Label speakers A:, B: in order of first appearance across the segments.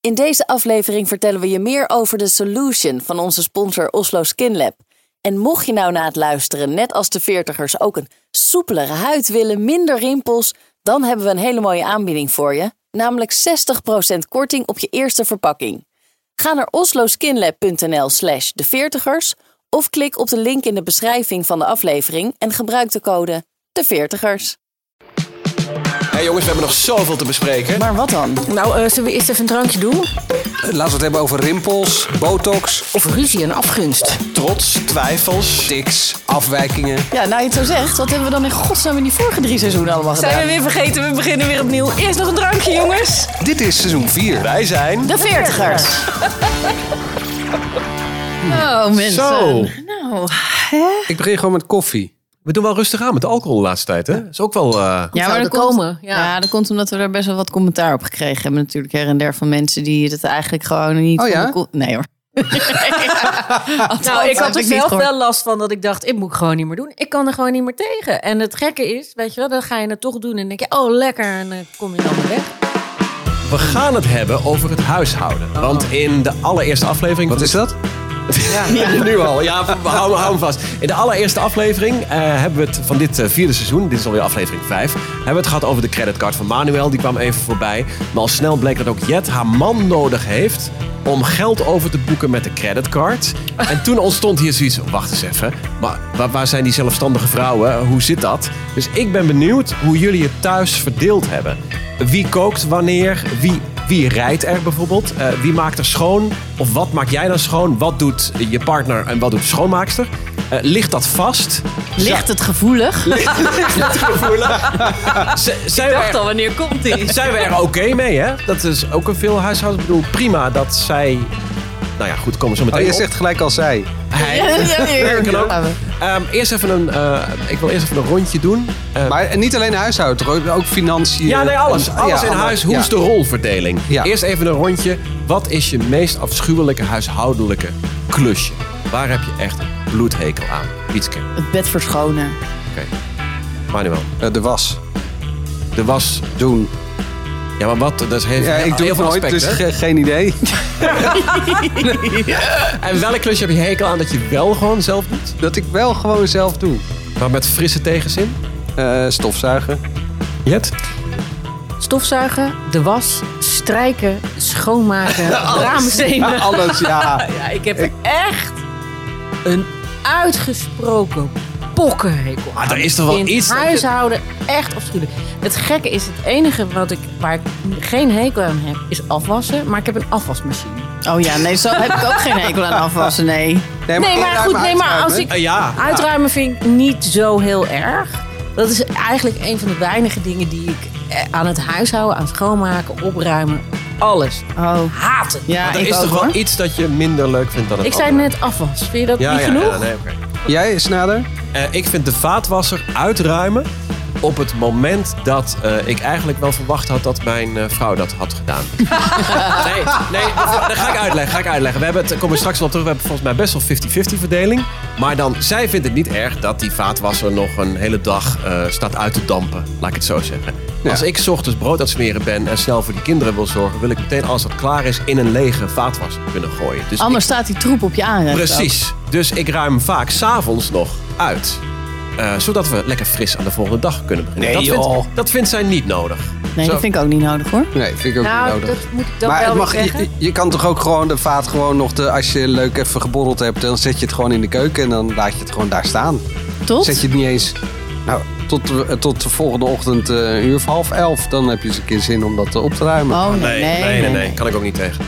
A: In deze aflevering vertellen we je meer over de Solution van onze sponsor Oslo Skin Lab. En mocht je nou na het luisteren, net als de veertigers, ook een soepelere huid willen, minder rimpels, dan hebben we een hele mooie aanbieding voor je. Namelijk 60% korting op je eerste verpakking. Ga naar osloskinlab.nl slash de veertigers of klik op de link in de beschrijving van de aflevering en gebruik de code de veertigers.
B: Hey jongens, we hebben nog zoveel te bespreken.
A: Maar wat dan?
C: Nou, eh, zullen we eerst even een drankje doen?
B: Laten we het hebben over rimpels, botox,
C: Of ruzie en afgunst.
B: trots, twijfels, tics, afwijkingen.
A: Ja, nou je het zo zegt, wat hebben we dan in godsnaam in die vorige drie seizoenen allemaal gedaan?
C: Zijn we weer vergeten, we beginnen weer opnieuw. Eerst nog een drankje, jongens.
B: Dit is seizoen 4. Wij zijn...
A: De veertigers!
C: Oh, mensen.
D: Zo.
C: Nou,
D: Ik begin gewoon met koffie. We doen wel rustig aan met de alcohol de laatste tijd, hè? is ook wel... eh,
C: ja, maar
A: zouden
C: er
A: komen,
C: komen.
A: Ja. dat komt omdat we daar best wel wat commentaar op gekregen hebben. Natuurlijk her en der van mensen die het eigenlijk gewoon niet...
D: Oh
A: van
D: ja?
A: de ko- Nee hoor.
E: Nou, ik had er
A: het niet
E: zelf
A: gehoord.
E: wel last van dat ik dacht, ik moet gewoon niet meer doen. Ik kan er gewoon niet meer tegen. En het gekke is, weet je wel, dan ga je het toch doen en denk je, oh lekker, en dan kom je dan weer weg.
D: We gaan het hebben over het huishouden. Want in de allereerste aflevering... Wat is dat? Ja, nu al. Ja, hou, hou hem vast. In de allereerste aflevering eh, hebben we het van dit eh, vierde seizoen, dit is alweer aflevering 5, hebben we het gehad over de creditcard van Manuel. Die kwam even voorbij. Maar al snel bleek dat ook Jet haar man nodig heeft om geld over te boeken met de creditcard. En toen ontstond hier zoiets, wacht eens even, maar waar, waar zijn die zelfstandige vrouwen? Hoe zit dat? Dus ik ben benieuwd hoe jullie het thuis verdeeld hebben. Wie kookt wanneer? Wie wie rijdt er bijvoorbeeld? Eh, wie maakt er schoon? Of wat maak jij dan schoon? Wat doet je partner en wat doet de schoonmaakster? Eh, ligt dat vast?
A: Ligt het gevoelig?
D: Z- zijn, we er,
E: al, wanneer komt die?
D: zijn we er oké mee, hè? Dat is ook een veel huishouden. Ik bedoel, prima dat zij... Nou ja, goed, komen we zo meteen
B: Oh, je
D: op.
B: zegt gelijk al zij.
D: Hij.
A: ja,
D: kan ook. Ehm, eerst even een, eh, ik wil eerst even een rondje doen. Eh,
B: Maar niet alleen huishouden, toch? ook financiën.
D: ja, nee, alles.
B: En-
D: Alles
B: ja,
D: in
B: alle-
D: huis. Hoe
B: ja.
D: is de rolverdeling?
B: Ja.
D: Eerst even een rondje. Wat is je meest afschuwelijke huishoudelijke klusje? Waar heb je echt bloedhekel aan? Ietske.
A: Het bed verschonen.
D: Manuel,
B: Eh, de was.
D: de was.
B: Doen.
D: Ja, maar wat? Dat heeft
B: Ja, ik
D: heel
B: doe het
D: veel
B: nooit,
D: aspecten.
B: dus ge- geen idee.
D: En welk klusje heb je hekel aan dat je wel gewoon zelf doet?
B: Dat ik wel gewoon zelf doe.
D: Maar met frisse tegenzin?
B: Eh, stofzuigen.
D: Jet?
E: Stofzuigen, de was, strijken, schoonmaken,
B: Ja,
E: raamstenen.
B: Ah, alles, ja.
E: Oh. Ja, ik heb echt een uitgesproken pokkenhekel.
D: Ah, er is toch wel
E: in
D: iets dat je-
E: huishouden echt afschuwelijk. Het gekke is, het enige wat ik, waar ik geen hekel aan heb, is afwassen. Maar ik heb een afwasmachine.
A: Oh ja, nee, zo heb ik ook geen hekel aan afwassen, nee.
E: Nee, maar
B: ruim
E: goed, nee, maar
B: uitruimen.
E: als ik...
D: Eh, ja.
E: Uitruimen vind ik niet zo heel erg. Dat is eigenlijk een van de weinige dingen die ik eh, aan het huishouden, aan schoonmaken, opruimen, alles.
A: Oh,
E: Haat het.
A: ja,
D: Maar er
A: ik
D: is
A: ook
D: toch wel
A: hoor.
D: iets dat je minder leuk vindt dan het
E: Ik zei
D: andere?
E: net afwas. Vind je dat
D: ja,
E: niet
D: ja,
E: genoeg?
D: Ja, nee, oké.
B: Jij, Snader?
D: Eh, ik vind de vaatwasser uitruimen op het moment dat eh, ik eigenlijk wel verwacht had dat mijn eh, vrouw dat had gedaan. nee, nee, dat ga ik uitleggen. Ga ik uitleggen. We hebben het, daar komen we straks wel op terug. We hebben volgens mij best wel 50-50 verdeling. Maar dan, zij vindt het niet erg dat die vaatwasser nog een hele dag eh, staat uit te dampen. Laat ik het zo zeggen.
B: Ja.
D: Als ik 's ochtends brood aan het smeren ben en snel voor die kinderen wil zorgen, wil ik meteen als dat klaar is in een lege vaatwasser kunnen gooien. Dus ik-
A: Anders staat die troep op je aanrecht. ook.
D: Precies. Dus ik ruim vaak s'avonds nog uit. Eh, zodat we lekker fris aan de volgende dag kunnen beginnen.
B: Nee,
D: dat,
B: joh.
D: vindt, dat vindt zij niet nodig.
A: Nee,
D: Zo.
A: dat vind ik ook niet nodig hoor.
B: Nee, vind ik ook niet
E: Nou,
B: nodig.
E: dat moet ik dan
B: maar
E: wel
B: het
E: weer
B: mag,
E: zeggen.
B: je, je kan toch ook gewoon de vaat gewoon nog, de, als je leuk even geborreld hebt, dan zet je het gewoon in de keuken en dan laat je het gewoon daar staan.
A: Tot?
B: Zet je het niet eens nou, tot, de- tot de volgende ochtend eh, een uur of half elf, dan heb je eens een keer zin om dat eh, op te ruimen.
A: Oh nee, nee, nee.
D: nee, Kan ik ook niet tegen.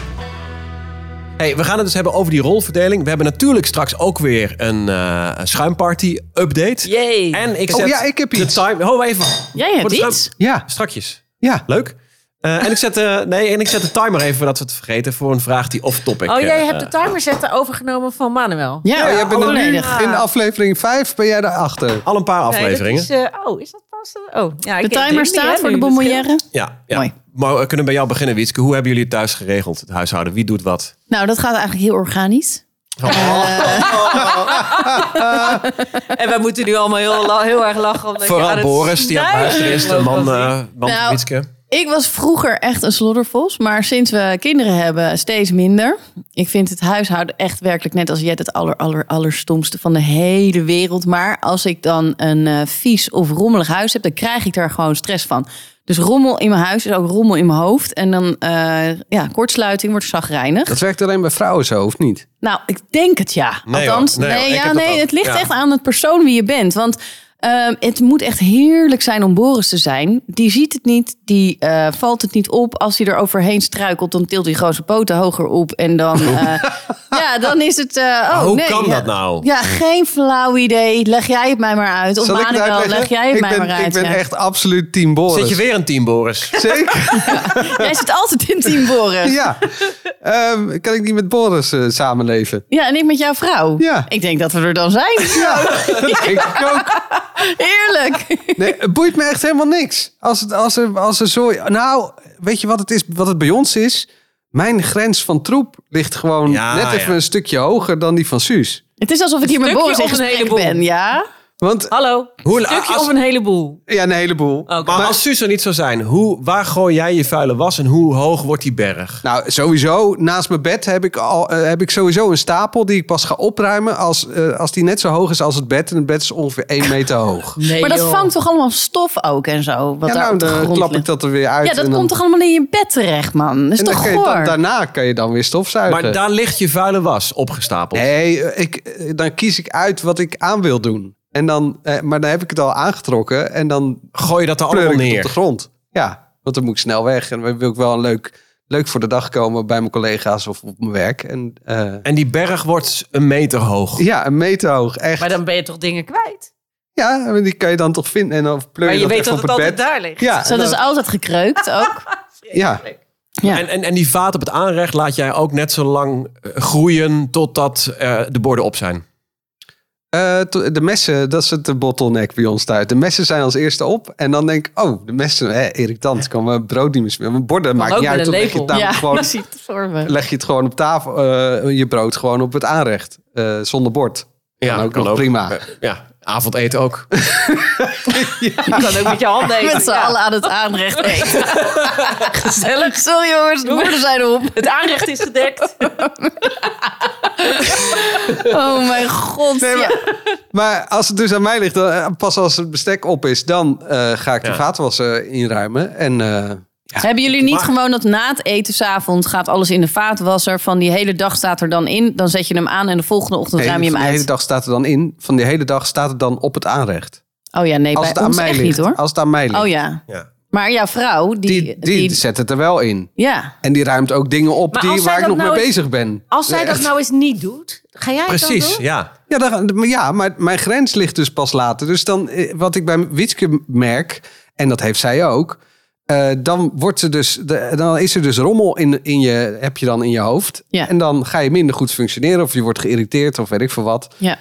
D: Hey, we gaan het dus hebben over die rolverdeling. We hebben natuurlijk straks ook weer een eh, schuimparty-update.
E: Jee.
D: En ik
B: Oh,
D: zet
B: ja, ik heb
D: de
B: iets.
D: time... Ho, even.
A: Jij
D: Voor
A: hebt
D: de schuim-
A: iets?
B: Ja,
D: Strakjes.
B: ja.
D: Leuk. Eh, en, ik zet, eh, nee, en ik zet de timer even voordat we het vergeten voor een vraag die off-topic
E: oh, jij
D: eh,
E: hebt de timer zetten overgenomen van Manuel.
A: Ja,
B: Oh, jij bent er nu
A: volledig.
B: in aflevering 5 ben jij daarachter.
D: eh, al een paar
E: Nee, dat
D: afleveringen.
E: is, eh, oh, is dat pas? Oh, ja,
A: De timer staat voor de
C: dus
A: bonbonnière.
D: Ja, ja.
A: Mooi.
D: Maar we kunnen bij jou beginnen, Wietske. Hoe hebben jullie het thuis geregeld, het huishouden? Wie doet wat? Oh,
A: Nou, dat gaat eigenlijk heel organisch.
E: En we moeten nu allemaal heel, la- heel erg lachen. Omdat je aan
D: Vooral
E: het
D: Boris, die aan het huis
E: snuiven
D: is. De man,
E: was.
D: eh man van
A: Nou,
D: Wietske.
A: Ik was vroeger echt een sloddervos, maar sinds we kinderen hebben steeds minder. Ik vind het huishouden echt werkelijk net als Jet het aller, aller, allerstomste van de hele wereld. Maar als ik dan een eh, vies of rommelig huis heb, dan krijg ik daar gewoon stress van. Dus rommel in mijn huis is ook rommel in mijn hoofd. En dan, eh, ja, kortsluiting wordt zagrijnig.
B: Dat werkt alleen bij vrouwen zo, of niet?
A: Nou, ik denk het ja.
D: Nee,
A: Althans,
D: hoor.
A: nee,
D: Nee, hoor. Ik
A: ja,
D: heb dat
A: nee
D: ook.
A: het ligt
D: Ja.
A: echt aan het persoon wie je bent. Want ehm, het moet echt heerlijk zijn om Boris te zijn. Die ziet het niet, die eh, valt het niet op. Als hij er overheen struikelt, dan tilt hij gewoon zijn poten hoger op. En dan, eh, ja, dan is het... eh, oh,
D: Hoe
A: nee,
D: kan
A: ja.
D: dat nou?
A: Ja, geen flauw idee. Leg jij het mij maar uit. Of
B: Zal ik het
A: Manuel,
B: uitleggen?
A: leg jij het
B: ik
A: mij
B: ben,
A: maar uit.
B: Ik ben
A: ja.
B: echt absoluut team Boris.
D: Zit je weer een team, Boris?
B: Zeker?
A: Jij zit altijd in team Boris.
B: ja. Ehm, kan ik niet met Boris eh, samenleven?
A: Ja, en ik met jouw vrouw.
B: Ja.
A: Ik denk dat we er dan zijn.
B: Ja, dat denk ik ook.
A: Heerlijk.
B: Nee, het boeit me echt helemaal niks. Als, het, als, er, als er zo... Nou, weet je wat het, is, wat het bij ons is? Mijn grens van troep ligt gewoon
D: Ja,
B: net even
D: ja.
B: een stukje hoger dan die van Suus.
A: Het is alsof ik hier met
E: stukje
A: Boris in
E: of een
A: gesprek
E: heleboel?
A: ben, ja?
B: Want
E: Hallo,
D: Hoe-
E: een stukje
D: als-
E: of een heleboel.
B: ja, een heleboel.
D: Maar, als Suus er niet zou zijn, hoe, waar gooi jij je vuile was en hoe hoog wordt die berg?
B: Nou, sowieso, naast mijn bed heb ik, al, eh, heb ik sowieso een stapel die ik pas ga opruimen als, eh, als die net zo hoog is als het bed. En het bed is ongeveer 1 meter hoog.
E: Nee,
A: maar dat
E: joh.
A: vangt toch allemaal stof ook en zo? Wat
B: Ja,
A: daar
B: nou,
A: op de
B: dan
A: grond
B: klap ik
A: ligt?
B: dat er weer uit.
A: Ja, dat
B: en dan-
A: komt toch allemaal in je bed terecht, man? Dat is
B: en dan
A: toch
B: kan je dan-
A: goor?
B: daarna kan je dan weer stofzuigen.
D: Maar daar ligt je vuile was opgestapeld.
B: Nee, eh, ik, eh, dan kies ik uit wat ik aan wil doen. En dan, eh, maar dan heb ik het al aangetrokken en dan
D: Gooi je dat er
B: pleur
D: allemaal
B: ik het op de
D: neer.
B: grond. Ja, want dan moet ik snel weg. En dan wil ik wel een leuk, leuk voor de dag komen bij mijn collega's of op mijn werk. En eh,
D: En die berg wordt een meter hoog.
B: ja, een meter hoog, echt.
E: Maar dan ben je toch dingen kwijt?
B: Ja, want die kan je dan toch vinden en dan pleur
E: Maar
B: je,
E: je
B: dat
E: weet
B: echt
E: dat het
B: op het
E: altijd
B: bed.
E: daar ligt.
B: Ja,
A: Zo, dat is altijd gekreukt ook.
B: ja.
A: Ja.
D: En, en, en die vaat op het aanrecht laat jij ook net zo lang eh, groeien totdat eh, de borden op zijn.
B: Eh, to- de messen, dat is het eh, bottleneck bij ons thuis. De messen zijn als eerste op. En dan denk ik, oh, de messen, hè, irritant. Kan mijn brood niet meer smeren. Mijn borden maakt
E: ook
B: niet
E: met
B: uit.
E: een
B: Dan leg je, het
E: lepel.
A: ja,
B: namelijk Nou, gewoon,
A: dat zie ik het voor me.
B: leg je het gewoon op tafel. eh, je brood gewoon op het aanrecht. eh, zonder bord. Ja, kan ook nog prima.
D: Eh, Ja, avondeten ook.
E: Je kan ook met je handen eten.
A: Met z'n
E: Ja.
A: allen aan het aanrecht eten. Gezellig. Sorry jongens, de borden zijn op.
E: Het aanrecht is gedekt.
A: Oh mijn god.
B: Nee,
A: ja.
B: maar, maar als het dus aan mij ligt, dan, eh, pas als het bestek op is, dan eh, ga ik de
D: Ja.
B: vaatwasser inruimen. En eh,
A: Hebben jullie niet
D: Maar-
A: gewoon dat na het eten s'avonds gaat alles in de vaatwasser? Van die hele dag staat er dan in. Dan zet je hem aan en de volgende ochtend
B: nee,
A: ruim je
B: van
A: hem
B: de hele
A: uit.
B: dag staat er dan in. Van die hele dag staat het dan op het aanrecht.
A: Oh ja, nee,
B: Als
A: bij
B: het aan
A: ons
B: mij
A: echt
B: ligt.
A: niet hoor.
B: Als het aan mij ligt.
A: Oh ja.
D: Ja.
A: Maar jouw vrouw,
B: die,
A: die...
B: die, zet het er wel in.
A: ja.
B: En die ruimt ook dingen op
E: Maar
B: die,
E: als zij
B: waar ik
E: dat
B: nog
E: nou
B: mee
E: eens-
B: bezig ben.
E: Als zij dat nou eens niet doet, ga jij het dan
D: Precies,
E: doen?
D: ja.
B: Ja, daar- maar ja, maar mijn grens ligt dus pas later. Dus dan, eh, wat ik bij Witske merk, en dat heeft zij ook... eh, dan, wordt ze dus, de- dan is er dus rommel in, in je, heb je dan in je hoofd.
A: Ja.
B: En dan ga je minder goed functioneren of je wordt geïrriteerd of weet ik veel wat.
A: Ja.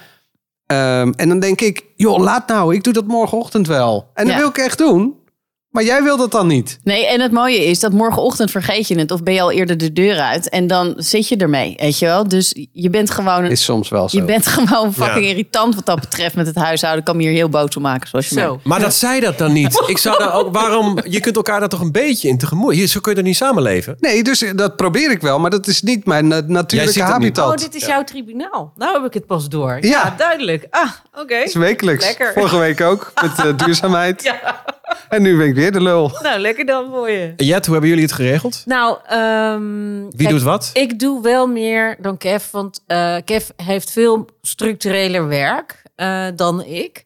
B: Ehm, en dan denk ik, joh, laat nou, ik doe dat morgenochtend wel. En dat
A: Ja.
B: wil ik echt doen, maar jij wil dat dan niet.
A: Nee, en het mooie is dat morgenochtend vergeet je het. Of ben je al eerder de deur uit. En dan zit je ermee, weet je wel. Dus je bent gewoon, een,
B: Is soms wel zo.
A: je bent gewoon fucking
D: Ja.
A: irritant wat dat betreft met het huishouden. Ik kan me hier heel boos om maken, zoals je
E: Zo.
A: merkt.
D: Maar dat zij dat dan niet. Ik zou daar ook, waarom, je kunt elkaar daar toch een beetje in tegemoet. Je- Zo kun je er niet samenleven.
B: Nee, dus dat probeer ik wel, maar dat is niet mijn eh,
D: Jij ziet
B: natuurlijke
D: het niet.
B: habitat.
E: Oh, dit is jouw tribunaal. Nou heb ik het pas door. Ja,
B: Ja.
E: duidelijk. Ah, oké.
B: Het is wekelijks.
E: Lekker.
B: Vorige week ook, met eh, duurzaamheid.
E: Ja.
B: En nu ben ik weer de lul.
E: Nou, lekker dan voor je.
D: Jet, hoe hebben jullie het geregeld?
E: Nou, ehm
D: Wie doet wat?
E: Ik doe wel meer dan Kev, want eh, Kev heeft veel structureler werk eh, dan ik.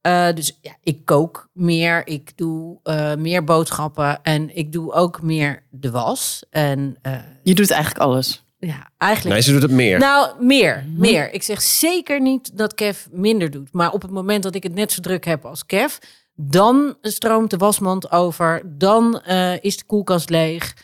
E: Eh, dus ja, ik kook meer, ik doe eh, meer boodschappen en ik doe ook meer de was. En eh,
A: Je doet eigenlijk alles.
E: ja, eigenlijk.
D: Nee, ze doet het meer.
E: Nou, meer, meer. Ik zeg zeker niet dat Kev minder doet. Maar op het moment dat ik het net zo druk heb als Kev, dan stroomt de wasmand over. Dan eh, is de koelkast leeg.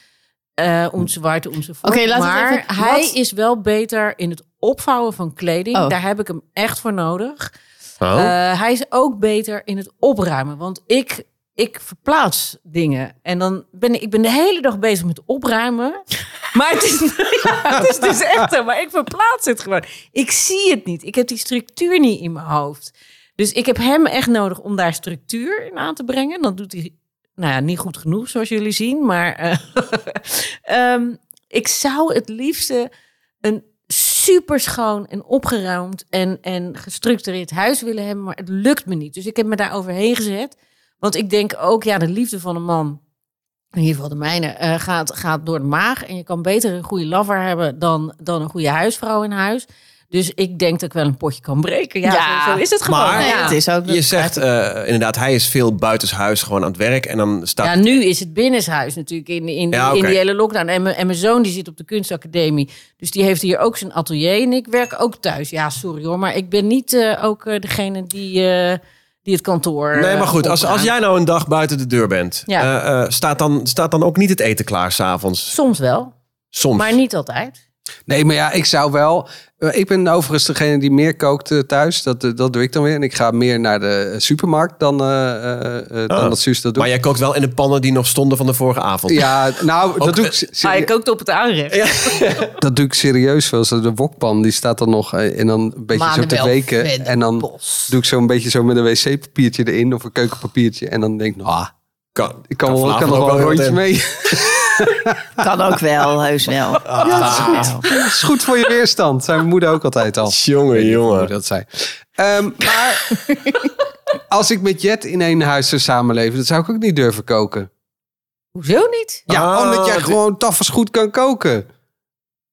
E: eh om ze waar te om ze voor.
A: Oké, laten we het
E: maar
A: even-
E: hij
A: wat-
E: is wel beter in het opvouwen van kleding.
A: Oh.
E: Daar heb ik hem echt voor nodig.
D: Oh.
E: Eh, hij is ook beter in het opruimen. Want ik, ik verplaats dingen. En dan ben ik, ik ben de hele dag bezig met opruimen. Maar het is, ja, het is dus echt zo. Maar ik verplaats het gewoon. Ik zie het niet. Ik heb die structuur niet in mijn hoofd. Dus ik heb hem echt nodig om daar structuur in aan te brengen. Dan doet hij nou ja, niet goed genoeg, zoals jullie zien. Maar eh, ehm, ik zou het liefste een super schoon en opgeruimd en, en gestructureerd huis willen hebben. Maar het lukt me niet. Dus ik heb me daar overheen gezet. Want ik denk ook, ja, de liefde van een man, in ieder geval de mijne, eh, gaat, gaat door de maag. En je kan beter een goede lover hebben dan, dan een goede huisvrouw in huis. Dus ik denk dat ik wel een potje kan breken. Ja,
A: Ja.
E: Zo, zo is het gewoon.
D: Maar-
A: Nee,
E: Ah, ja.
A: het is ook...
D: Je zegt eh, inderdaad, hij is veel buitenshuis gewoon aan het werk. En dan staat...
E: Ja, nu is het binnenshuis natuurlijk in, in,
D: Ja,
E: in
D: oké.
E: die hele lockdown. En mijn en mijn zoon die zit op de kunstacademie. Dus die heeft hier ook zijn atelier. En ik werk ook thuis. Ja, sorry hoor. Maar ik ben niet eh, ook eh, degene die, eh, die het kantoor.
D: Nee,
E: eh,
D: maar goed, als,
E: opruimt.
D: als jij nou een dag buiten de deur bent,
E: Ja.
D: eh, eh, staat, dan, staat dan ook niet het eten klaar s'avonds?
E: Soms wel,
D: Soms.
E: maar niet altijd.
B: Nee, maar ja, ik zou wel. eh, Ik ben overigens degene die meer kookt eh, thuis. Dat, eh, dat doe ik dan weer. En ik ga meer naar de eh, supermarkt dan, eh, eh, eh,
D: Ah.
B: dan dat Suus dat doet.
D: Maar jij kookt wel in de pannen die nog stonden van de vorige avond.
B: Ja, nou, dat doe, ik,
E: Maar
B: serie-
E: Ah, ik kookt op het aanrecht.
B: dat doe ik serieus wel. Zo De wokpan, die staat dan nog eh, en dan een beetje zo te
E: Manuel
B: weken.
E: Venderbos.
B: En dan doe ik zo een beetje zo met een wc-papiertje erin of een keukenpapiertje. En dan denk ik, nou,
D: kan,
B: ik kan, wel, ik kan nog
D: vanavond
B: wel een
D: ook wat
B: rondje
D: in.
B: mee.
A: Kan ook wel, heus wel. ja, dat is
E: Ah.
A: goed.
B: Dat is goed voor je weerstand, zei mijn moeder ook altijd al.
D: Jongen,
B: hoe
D: jongen.
B: dat zei. Ehm, maar als ik met Jet in één huis zou samenleven, dat zou ik ook niet durven koken.
E: Hoezo niet?
B: Ja,
D: Ah,
B: omdat jij
D: dit-
B: gewoon tafels goed kan koken.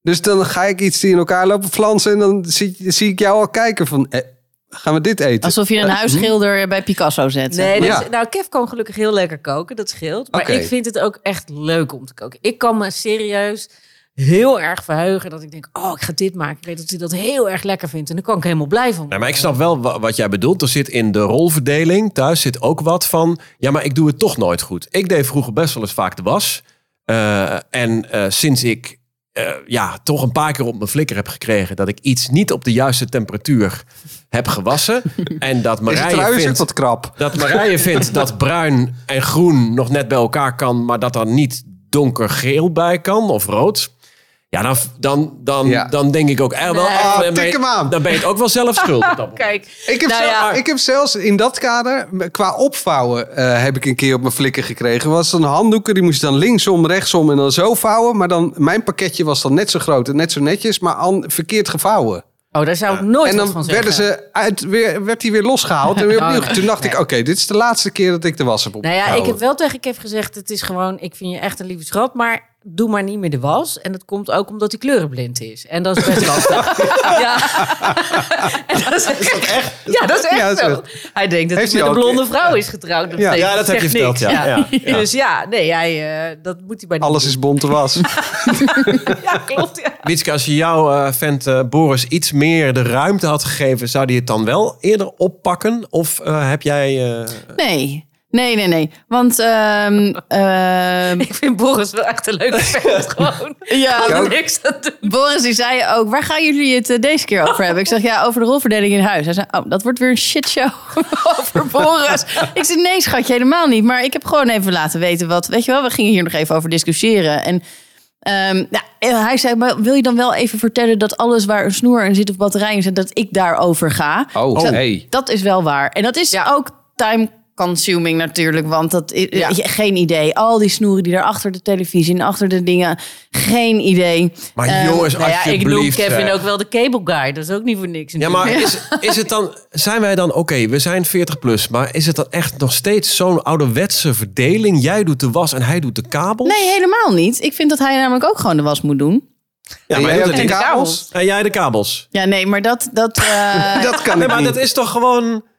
B: Dus dan ga ik iets in elkaar lopen flansen en dan zie, zie ik jou al kijken van, eh, gaan we dit eten?
A: Alsof je een huisschilder bij Picasso zet.
E: Nee, dat
B: Ja.
E: is- nou, Kev kan gelukkig heel lekker koken, dat scheelt. Maar
B: Oké.
E: ik vind het ook echt leuk om te koken. Ik kan me serieus heel erg verheugen dat ik denk, oh, ik ga dit maken. Ik weet dat hij dat heel erg lekker vindt en daar kan ik helemaal blij van.
D: Nee, maar ik snap wel wa- wat jij bedoelt. Er zit in de rolverdeling thuis zit ook wat van... Ja, maar ik doe het toch nooit goed. Ik deed vroeger best wel eens vaak de was. Eh, en eh, sinds ik eh, ja, toch een paar keer op mijn flikker heb gekregen... dat ik iets niet op de juiste temperatuur heb gewassen... en dat
B: is het
D: Marije
B: ruis ook
D: vindt...
B: wat krap?
D: Dat Marije vindt dat bruin en groen nog net bij elkaar kan, maar dat er niet donkergeel bij kan of rood. Ja, dan, dan, dan,
B: Ja.
D: dan denk ik ook eh, wel.
E: Nee.
D: eh,
B: Ah,
D: dan, ben
B: tik hem
D: je,
B: aan.
D: dan ben je het ook wel zelf schuldig. op.
E: Kijk,
B: Ik heb,
E: Nou
B: zelf-
E: ja.
B: ik heb zelfs in dat kader, m- qua opvouwen, eh, heb ik een keer op mijn flikker gekregen. Was een handdoeken, die moest je dan linksom, rechtsom en dan zo vouwen. Maar dan, mijn pakketje was dan net zo groot en net zo netjes, maar an- verkeerd gevouwen.
E: oh, daar zou ik nooit
B: en
E: wat
B: dan
E: van zeggen.
B: werden ze uit, weer, werd die weer losgehaald en weer
E: Oh,
B: opnieuw.
E: nee.
B: Toen dacht ik, oké, dit is de laatste keer dat ik de was heb
E: Nou
B: opgehouden.
E: ja, ik heb wel tegen Kev gezegd, het is gewoon, ik vind je echt een lieve schat, maar doe maar niet meer de was. En dat komt ook omdat hij kleurenblind is. En dat is best lastig. ja. En dat is, echt? Ja, dat is echt
B: Ja, dat is
E: zo. Hij denkt dat
B: Heeft
E: hij
B: hij
E: met een
B: al een
E: blonde vrouw is getrouwd. nog
B: Ja.
E: steeds.
D: Ja, dat heb je
E: zegt
D: verteld,
E: niks.
D: ja. Ja.
E: Dus ja, nee, hij, eh, dat moet hij bij die-
B: Alles is bonte was.
E: Ja, klopt. Ja.
D: Witske, als je jouw eh, vent eh, Boris iets meer de ruimte had gegeven, zou die het dan wel eerder oppakken? Of eh, heb jij. eh,
A: Nee, nee, nee. nee. Want ehm, ehm,
E: Ik vind Boris wel echt een leuke vent. Gewoon.
A: ja,
E: Kan er
B: ook.
E: niks aan doen.
A: Boris die zei ook, waar gaan jullie het eh, deze keer over hebben? Ik zeg, ja, over de rolverdeling in huis. Hij zei, oh, dat wordt weer een shitshow over Boris. Ik zei, nee schatje, helemaal niet. Maar ik heb gewoon even laten weten wat... Weet je wel, we gingen hier nog even over discussiëren. En ehm, nou, eh, hij zei, maar wil je dan wel even vertellen dat alles waar een snoer in zit of batterijen zit, dat ik daarover ga?
B: Oh,
A: Ik zei,
B: hey.
A: Dat is wel waar. En dat is
E: Ja.
A: ook time consuming natuurlijk, want dat i-
E: Ja.
A: je- geen idee. Al die snoeren die daar achter de televisie en achter de dingen, geen idee.
D: Maar
A: Ehm,
D: jongens,
E: Nou ja, ik noem
D: alsjeblieft,
E: Kevin
D: zeg.
E: ook wel de cable guy. Dat is ook niet voor niks.
D: eh. Ja, maar is, is het dan, zijn wij dan, oké, we zijn 40 plus, maar is het dan echt nog steeds zo'n ouderwetse verdeling? Jij doet de was en hij doet de kabels?
A: Nee, helemaal niet. Ik vind dat hij namelijk ook gewoon de was moet doen.
D: Ja, maar
B: En
D: jij
B: jij
D: doet
B: ook
D: het
B: de
D: niet.
B: kabels?
D: En jij de kabels.
A: Ja, nee, maar dat... dat eh,
B: Dat kan
D: Nee,
B: ik
D: maar
B: niet.
D: dat is toch gewoon...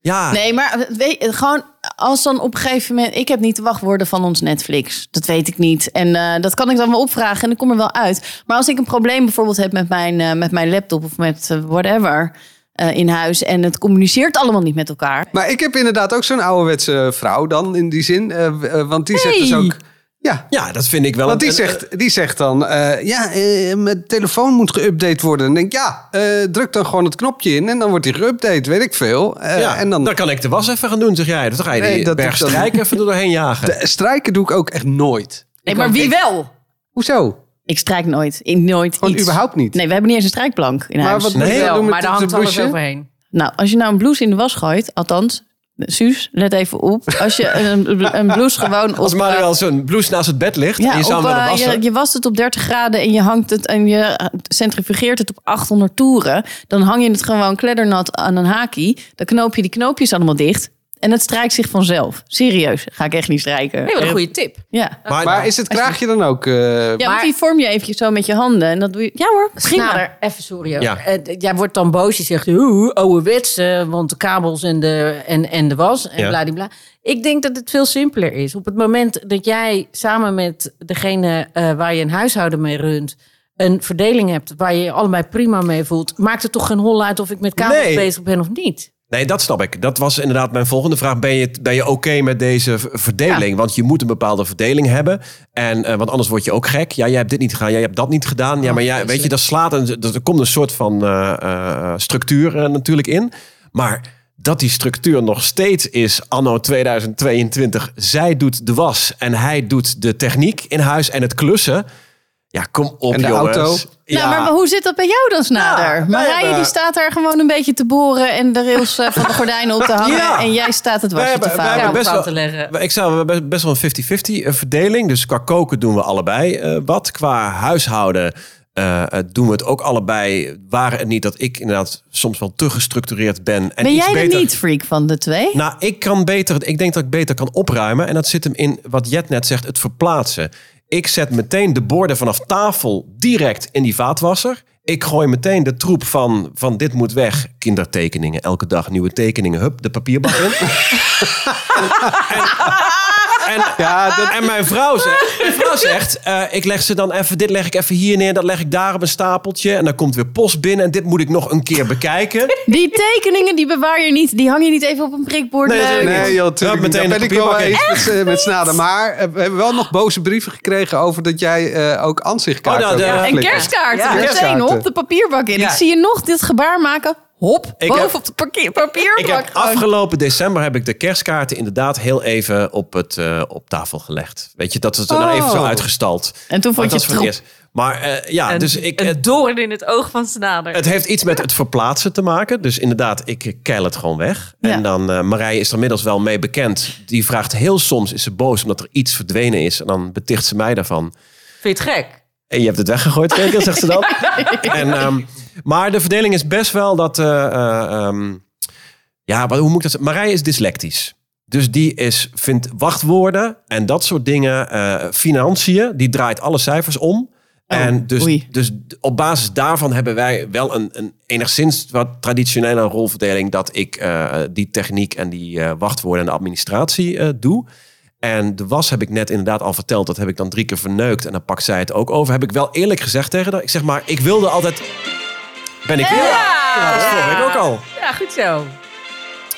D: Ja,
A: Nee, maar weet, gewoon als dan op een gegeven moment... Ik heb niet de wachtwoorden van ons Netflix. Dat weet ik niet. En eh, dat kan ik dan wel opvragen en ik kom er wel uit. Maar als ik een probleem bijvoorbeeld heb met mijn, eh, met mijn laptop of met eh, whatever eh, in huis... en het communiceert allemaal niet met elkaar...
B: Maar ik heb inderdaad ook zo'n ouderwetse vrouw dan, in die zin. Eh, eh, want die zegt dus
A: Hey.
B: ook... Ja,
D: ja dat vind ik wel...
B: Want die
D: een-
B: zegt, die zegt dan, eh, ja, eh, mijn telefoon moet geüpdate worden. En dan denk ik, ja, eh, druk dan gewoon het knopje in en dan wordt die geüpdate, weet ik veel. Eh,
D: ja,
B: en dan,
D: dan kan ik de was even gaan doen, zeg jij. Dan ga je
B: Nee,
D: die
B: dat doe
D: berg
B: ik dan
D: strijk even er doorheen jagen.
B: de- strijken doe ik ook echt nooit.
A: Nee, maar wie wel?
B: Hoezo?
A: Ik strijk nooit. Ik nooit
B: Gewoon
A: iets.
B: überhaupt niet.
A: Nee, we hebben niet eens een strijkplank in
B: Maar
A: huis.
B: wat
D: Nee,
B: moet je dan
E: Wel,
B: doen met
E: maar daar
B: de
E: hangt alles
B: bloesje?
E: overheen.
A: Nou, als je nou een blouse in de was gooit... althans, Suus, let even op. Als je een, een blouse gewoon op...
D: Als
A: eh,
D: Manuel zijn blouse naast het bed ligt en je zou
A: op,
D: hem willen
A: eh,
D: wassen.
A: je, je wast het op 30 graden en je hangt het en je eh, centrifugeert het op 800 toeren. Dan hang je het gewoon kleddernat aan een haakje. Dan knoop je die knoopjes allemaal dicht. En het strijkt zich vanzelf. Serieus, ga ik echt niet strijken.
E: Nee, wat een goede tip.
A: Ja.
D: Maar,
B: Maar is het kraagje dan ook... eh,
A: Ja, want die vorm je eventjes zo met je handen. En dat doe je... Ja hoor, prima.
E: Snader, even sorry. hoor.
D: Ja.
E: Eh, d- jij wordt dan boos. Je zegt, oeh, ouderwets, eh, want de kabels en de, en, en de was en
D: Ja.
E: bladibla. Ik denk dat het veel simpeler is. Op het moment dat jij samen met degene eh, waar je een huishouden mee runt... een verdeling hebt waar je je allebei prima mee voelt... maakt het toch geen hol uit of ik met kabels
D: Nee.
E: bezig ben of niet?
D: Nee, dat snap ik. Dat was inderdaad mijn volgende vraag. Ben je, ben je oké met deze v- verdeling? Want je moet een bepaalde verdeling hebben. En, eh, want anders word je ook gek. Ja, jij hebt dit niet gedaan. Jij hebt dat niet gedaan.
B: Oh,
D: Ja, maar jij, weet je, dat slaat een, dat, er komt een soort van eh, eh, structuur eh, natuurlijk in. Maar dat die structuur nog steeds is anno 2022. Zij doet de was en hij doet de techniek in huis en het klussen. Ja, kom op,
B: En de
D: jongens.
B: auto.
D: Ja.
A: Nou, maar hoe zit dat bij jou dan, Snader? Marije die staat daar gewoon een beetje te boren en de rails eh, van de gordijnen op te hangen.
D: Ja.
A: En jij staat het wasje te
D: hebben- wij
A: varen.
D: hebben
E: Kabels
D: best
E: aan
D: wel-
E: te leggen.
D: Ik zou we hebben best wel een 50-50 verdeling. Dus qua koken doen we allebei eh, wat. Qua huishouden eh, eh, doen we het ook allebei. Waar het niet dat ik inderdaad soms wel te gestructureerd ben. En
A: Ben
D: iets
A: jij de
D: beter,
A: niet-freak van de twee?
D: Nou, ik kan beter. Ik denk dat ik beter kan opruimen. En dat zit hem in wat Jet net zegt: het verplaatsen. Ik zet meteen de borden vanaf tafel direct in die vaatwasser. Ik gooi meteen de troep van, van dit moet weg. Kindertekeningen, elke dag nieuwe tekeningen. Hup, de papierbak in. En, en mijn vrouw zegt, mijn vrouw zegt eh, ik leg ze dan even, dit leg ik even hier neer, dat leg ik daar op een stapeltje. En dan komt weer post binnen en dit moet ik nog een keer bekijken.
A: Die tekeningen die bewaar je niet. Die hang je niet even op een prikbord.
D: Nee,
A: leuk.
D: zeker niet.
B: Nee, joh, tuurlijk
D: Ja,
B: niet.
D: meteen
B: Daar
D: de
B: ben ik wel
D: papierbak
B: eens met, eh, met Snaden. Maar eh, we hebben wel nog boze brieven gekregen over dat jij eh, ook ansichtkaarten
D: Oh, nou, de-
B: hebt
D: En
A: en
B: geflikkerd.
A: kerstkaarten.
B: Ja.
A: Meteen
B: Kerstkaarten.
A: op de papierbak in.
B: Ja.
A: Ik zie je nog dit gebaar maken. Hop,
D: Ik
A: boven
D: heb-
A: op de parkeer- papierbak.
D: Ik heb
A: gewoon.
D: afgelopen december heb ik de kerstkaarten inderdaad heel even op, het, eh, op tafel gelegd. Weet je, dat is er dan even zo uitgestald.
A: Oh. En toen vond
D: Maar
A: je
D: dat
A: het
D: is voor het
A: troep.
D: eerst. Maar eh, ja, dus ik,
F: Een
D: het,
F: doorn in het oog van Snader.
D: het heeft iets met het verplaatsen te maken. Dus inderdaad, ik eh, keil het gewoon weg.
A: Ja.
D: En dan, eh Marije is er inmiddels wel mee bekend. Die vraagt heel soms, is ze boos omdat er iets verdwenen is. En dan beticht ze mij daarvan.
E: Vind je het gek?
D: En je hebt het weggegooid, zeker, zegt ze dan. En, ehm, maar de verdeling is best wel dat... eh, eh, ehm, ja, wat, hoe moet ik dat zeggen? Marije is dyslectisch. Dus die is, vindt wachtwoorden en dat soort dingen, eh, financiën, die draait alle cijfers om. en dus,
A: oei.
D: dus op basis daarvan hebben wij wel een, een enigszins wat traditionele rolverdeling. Dat ik eh, die techniek en die eh, wachtwoorden en de administratie eh, doe. En de was heb ik net inderdaad al verteld. Dat heb ik dan drie keer verneukt. En dan pakt zij het ook over. Heb ik wel eerlijk gezegd tegen haar. Ik zeg maar, ik wilde altijd... Ben ik weer? Ja, dat is vorige week ook al.
E: Ja, goed zo.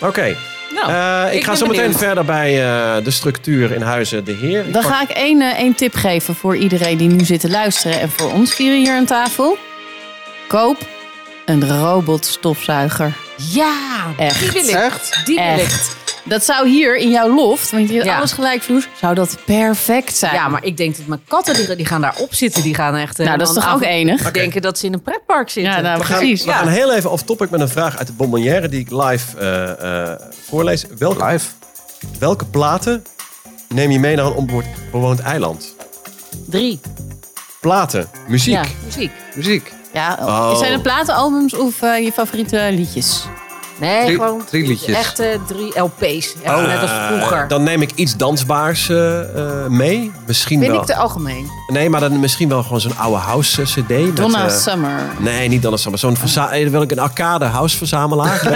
D: Oké.
E: Nou,
D: Eh, ik,
E: ik
D: ga
E: ben
D: zo meteen
E: benieuwd.
D: verder bij eh, de structuur in huizen de heer. Ik
A: Dan
D: pak-
A: ga ik één, eh, één tip geven voor iedereen die nu zit te luisteren. En voor ons vieren hier aan tafel. Koop een robotstofzuiger.
E: Ja,
A: Echt.
E: die wil ik.
B: Echt?
E: Die wil ik.
A: Echt. Dat zou hier in jouw loft, want je hebt
E: Ja.
A: alles gelijkvloers, zou dat perfect zijn.
E: Ja, maar ik denk dat mijn katten, die, die gaan daarop zitten. Die gaan echt... eh,
A: nou, dat is
E: dan
A: toch
E: af-
A: ook enig?
D: Oké.
E: denken dat ze in een pretpark zitten.
A: Ja, nou,
D: We gaan,
A: precies.
D: we gaan heel even off topic met een vraag uit de bonbonnière die ik live eh, eh, voorlees. Welke,
B: Live.
D: welke platen neem je mee naar een onbewoond eiland?
E: Drie.
D: Platen, muziek.
E: Ja, muziek.
B: Muziek.
A: Ja,
D: Oh.
A: zijn het platenalbums of eh, je favoriete liedjes?
E: Nee,
B: Drie-
E: gewoon
B: drie liedjes.
E: Echt eh, drie LP's. Echt
D: Oh,
E: net als
D: eh,
E: vroeger.
D: dan neem ik iets dansbaars eh, eh, mee. Misschien
E: Vind
D: wel.
E: ik te algemeen.
D: Nee, maar dan misschien wel gewoon zo'n oude house eh, CD. met,
A: Donna
D: eh,
A: Summer.
D: Nee, niet Donna Summer. Zo'n verza- eh, dan wil ik een arcade house verzamelaar.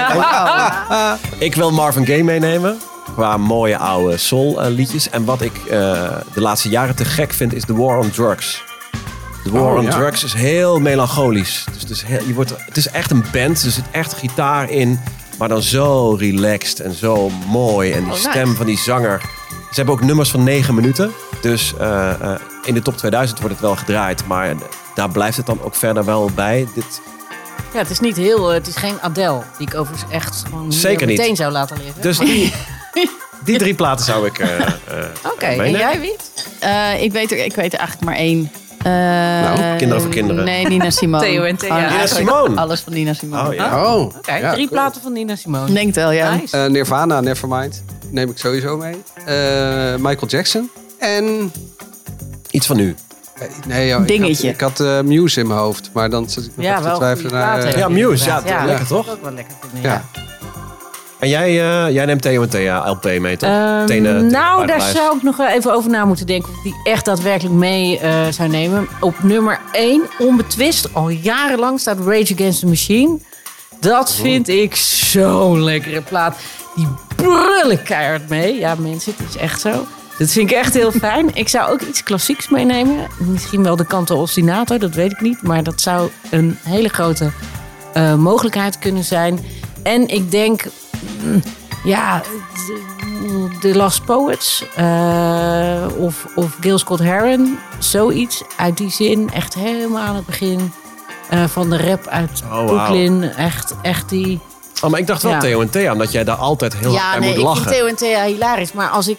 B: Ah.
D: Ik wil Marvin Gaye meenemen. Qua mooie oude soul eh, liedjes. En wat ik eh, de laatste jaren te gek vind is The War on Drugs. The War
B: Oh,
D: on
B: ja.
D: Drugs is heel melancholisch. Dus het, is heel- je wordt, het is echt een band. Er zit echt gitaar in. Maar dan zo relaxed en zo mooi. En die
E: nice.
D: stem van die zanger. Ze hebben ook nummers van 9 minuten. Dus eh, eh, in de top 2000 wordt het wel gedraaid. Maar daar blijft het dan ook verder wel bij. Dit,
E: Ja, het is niet heel... eh, het is geen Adele. Die ik overigens echt gewoon hier
D: Zeker niet.
E: meteen zou laten liggen.
D: dus die, die drie platen zou ik. eh, eh,
E: Oké, en
D: meenemen.
E: jij Wiet?
A: Eh, ik, weet er, ik weet er eigenlijk maar één. Eh,
D: Nou, Kinderen voor Kinderen.
A: Nee, Nina Simone.
F: Theo en Thea.
A: Gewoon
F: Nina
A: eigenlijk
D: Simone.
A: Alles van Nina Simone.
D: Oh ja.
B: Oh,
E: Kijk,
B: ja,
E: drie
B: cool.
E: platen van Nina Simone.
A: Ik Denk het wel, ja.
E: Nice.
B: Eh, Nirvana, Nevermind. Neem ik sowieso mee. Eh, Michael Jackson. En...
D: Iets van nu.
B: eh, Nee, joh,
A: Dingetje.
B: Ik had, ik had, eh, Muse in mijn hoofd, maar dan zit ik nog
E: Ja,
B: even te
E: wel
B: twijfelen
E: goede
B: naar...
E: plaat,
B: eh,
E: hè?
D: Ja, Muse. Ja,
E: Ja.
D: lekker
E: Dat is
D: toch?
E: ook wel lekker. vinden,
B: ja.
E: ja.
D: En jij, eh, jij neemt Theo en Thea LP mee toch?
E: Ehm,
D: Tenen- tenen
E: nou, daar
D: paardenlijf.
E: zou ik nog wel even over na moeten denken. Of ik die echt daadwerkelijk mee eh, zou nemen. Op nummer 1, onbetwist, al jarenlang staat Rage Against the Machine. Dat vind ik zo'n lekkere plaat. Die brullen keihard mee. Ja, mensen, het is echt zo. Dat vind ik echt heel fijn. Ik zou ook iets klassieks meenemen. Misschien wel de Canto Ostinato, dat weet ik niet. Maar dat zou een hele grote eh, mogelijkheid kunnen zijn. En ik denk, mm, ja, de- de Last Poets eh, of, of Gil Scott Heron, zoiets uit die zin, echt helemaal aan het begin eh, van de rap uit
D: Oh, wauw.
E: Brooklyn, echt, echt die.
D: Oh, maar ik dacht wel
E: Ja.
D: Theo en Thea, omdat jij daar altijd heel erg bij moet
E: ik vind
D: lachen.
E: Theo en Thea hilarisch, maar als ik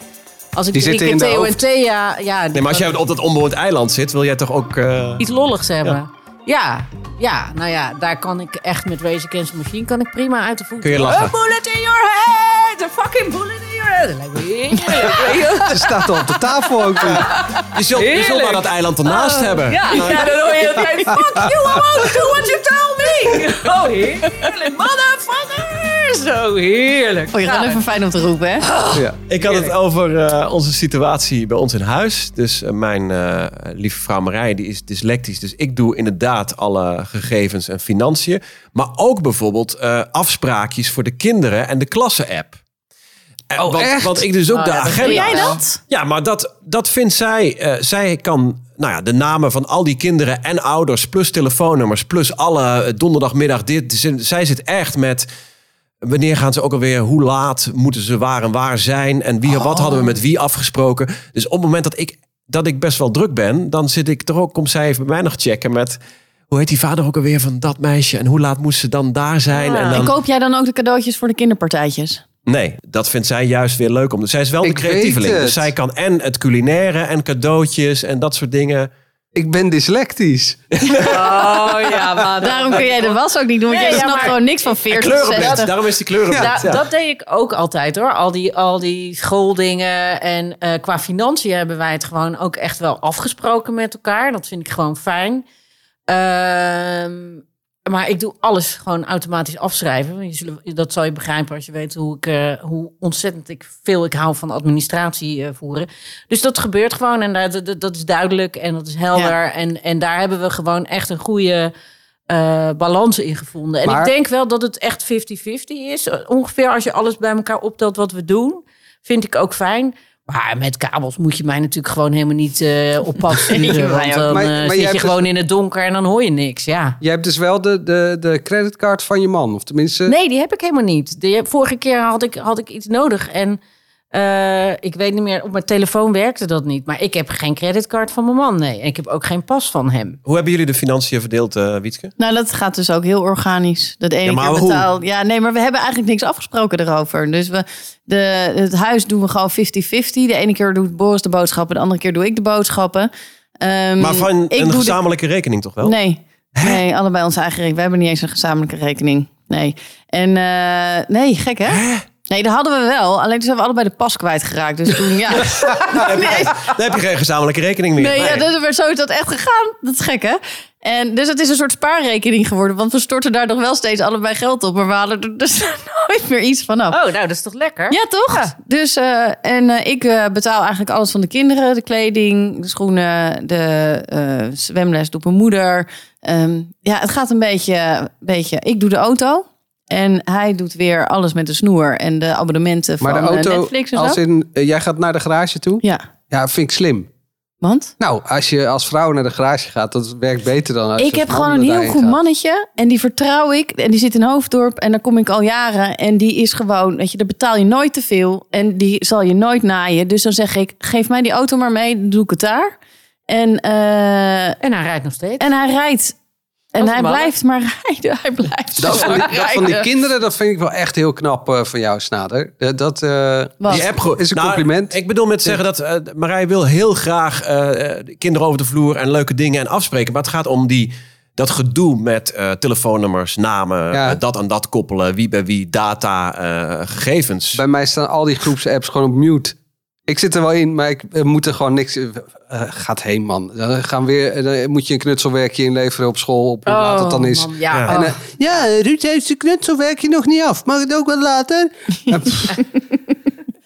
E: als ik
B: Die
E: drie
B: zitten
E: keer
B: in de
E: Theo en
B: hoofd.
E: Thea, ja,
D: Nee, maar als jij op dat onbewoond eiland zit, wil jij toch ook... eh,
E: iets lolligs hebben. Ja. ja, nou ja, daar kan ik echt met Rage Against the Machine kan ik prima uit de voeten.
D: Kun je lachen?
E: A bullet in your head, a fucking bullet in your head. Dat lijkt me heerlijk. weet je wel.
B: Ze staat al op de tafel ook.
D: Je zult, je zult maar dat eiland ernaast hebben.
E: Oh,
D: Nou,
E: Ja, ja, dan hoor je het Fuck you, I won't do what you tell me. Oh, heerlijk. Motherfucker. Zo heerlijk.
A: Oh, je gaat
E: Nou,
A: even fijn om te roepen, hè?
B: Ja.
D: Ik had het over eh, onze situatie bij ons in huis. Dus eh, mijn eh, lieve vrouw Marij, die is dyslectisch. Dus ik doe inderdaad alle gegevens en financiën. Maar ook bijvoorbeeld eh, afspraakjes voor de kinderen en de klassen-app. Eh, want,
B: Oh, echt?
D: want ik dus ook de agenda...
A: Doe jij Oh, dat?
D: Ja, maar dat, dat vindt zij. eh, zij kan nou ja, de namen van al die kinderen en ouders, plus telefoonnummers, plus alle eh, donderdagmiddag dit. Ze- Zij zit echt met. Wanneer gaan ze ook alweer? Hoe laat moeten ze waar en waar zijn? En wie, wat hadden
A: Oh.
D: we met wie afgesproken? Dus op het moment dat ik, dat ik best wel druk ben, dan zit ik er ook, komt zij even bij mij nog checken met. Hoe heet die vader ook alweer van dat meisje? En hoe laat moest ze dan daar zijn? En
A: En
D: dan...
A: koop jij dan ook de cadeautjes voor de kinderpartijtjes?
D: Nee, dat vindt zij juist weer leuk. Om... Zij is wel de
B: Ik
D: creatieveling.
B: weet
D: Dus
B: het.
D: zij kan en het culinaire en cadeautjes en dat soort dingen.
B: Ik ben dyslectisch.
F: Oh ja, maar
A: Daarom kun jij de was ook niet doen, want
E: Nee,
A: jij
E: ja,
A: snapt
E: maar-
A: gewoon niks van 40,
D: Kleurenpret,
A: 60.
D: daarom is die kleurenpret.
E: Da-
D: ja.
E: Dat deed ik ook altijd hoor. Al die, al die schooldingen. En eh, qua financiën hebben wij het gewoon ook echt wel afgesproken met elkaar. Dat vind ik gewoon fijn. Ehm, maar ik doe alles gewoon automatisch afschrijven. Want Je zullen, dat zal je begrijpen als je weet hoe, ik, eh, hoe ontzettend ik veel ik hou van administratie eh, voeren. Dus dat gebeurt gewoon en dat, dat, dat is duidelijk en dat is helder. En, en daar hebben we gewoon echt een goede eh, balans in gevonden. En
B: Maar-
E: ik denk wel dat het echt 50-50 is. Ongeveer als je alles bij elkaar optelt wat we doen, vind ik ook fijn. Maar met kabels moet je mij natuurlijk gewoon helemaal niet eh, op pad
A: mij
E: sturen. want
A: ook.
E: dan
B: Maar-
E: eh,
B: maar jij
E: zit
B: hebt
E: je
B: dus-
E: gewoon in het donker en dan hoor je niks. Ja.
B: Jij hebt dus wel de, de, de creditcard van je man. Of tenminste...
E: Nee, die heb ik helemaal niet. Die heb- vorige keer had ik, had ik iets nodig en eh, ik weet niet meer, op mijn telefoon werkte dat niet. Maar ik heb geen creditcard van mijn man, nee. En ik heb ook geen pas van hem.
D: Hoe hebben jullie de financiën verdeeld, eh Wietske?
A: Nou, dat gaat dus ook heel organisch. Dat ene
D: Ja, maar
A: keer
D: hoe?
A: betaal. Ja, nee, maar we hebben eigenlijk niks afgesproken erover. Dus we, de, het huis doen we gewoon 50-50. De ene keer doet Boris de boodschappen, de andere keer doe ik de boodschappen. Ehm,
D: Maar van
A: ik
D: een
A: doe de-
D: gezamenlijke rekening toch wel?
A: Nee, nee, allebei onze eigen rekening. We hebben niet eens een gezamenlijke rekening. Nee. En eh, nee, gek hè? Nee, dat hadden we wel. Alleen toen zijn we allebei de pas kwijtgeraakt. Dus toen, ja. nee,
D: Dan heb je geen gezamenlijke rekening meer.
A: Nee, ja, dat, maar zo is dat echt gegaan. Dat is gek, hè? En, dus het is een soort spaarrekening geworden. Want we storten daar nog wel steeds allebei geld op. Maar we halen er dus nooit meer iets van af.
E: Oh, nou, dat is toch lekker?
A: Ja, toch? Dus, eh, en eh, ik eh, betaal eigenlijk alles van de kinderen. De kleding, de schoenen, de eh, zwemles doet mijn moeder. Ehm, ja, het gaat een beetje, beetje... Ik doe de auto. En hij doet weer alles met de snoer. En de abonnementen van
B: maar de
A: eh,
B: auto,
A: Netflix en
B: als
A: zo.
B: in, eh, jij gaat naar de garage toe?
A: Ja,
B: Ja, vind ik slim.
A: want...
B: Nou, als je als vrouw naar de garage gaat, dat werkt beter dan als je
A: Ik
B: als
A: heb
B: man
A: gewoon een heel
B: daarheen
A: goed
B: gaat.
A: mannetje en die vertrouw ik. En die zit in Hoofddorp en daar kom ik al jaren. En die is gewoon, weet je, daar betaal je nooit te veel. En die zal je nooit naaien. Dus dan zeg ik, geef mij die auto maar mee, dan doe ik het daar. En, eh,
E: En hij rijdt nog steeds.
A: en hij rijdt. En hij
E: mannen.
A: blijft maar rijden. Hij blijft
B: Dat van, die,
A: maar
B: dat van die
A: rijden.
B: kinderen, dat vind ik wel echt heel knap eh, van jou, Snader. Dat, dat eh,
A: Wat?
B: die app is een
D: Nou,
B: compliment.
D: Ik bedoel met zeggen dat eh, Marij wil heel graag eh, eh, kinderen over de vloer en leuke dingen en afspreken. Maar het gaat om die, dat gedoe met eh, telefoonnummers, namen,
B: Ja.
D: eh, dat aan dat koppelen, wie bij wie, data, eh, gegevens.
B: Bij mij staan al die groepsapps gewoon op mute. Ik zit er wel in, maar ik eh, moet er gewoon niks. eh, eh, gaat heen, man. Dan gaan we weer. eh, Dan moet je een knutselwerkje inleveren op school. Op hoe laat het
E: Oh,
B: dan is.
A: man, ja.
D: Ja.
B: En, eh, ja, Ruud heeft zijn knutselwerkje nog niet af. Mag het ook wat later? Ja, pff,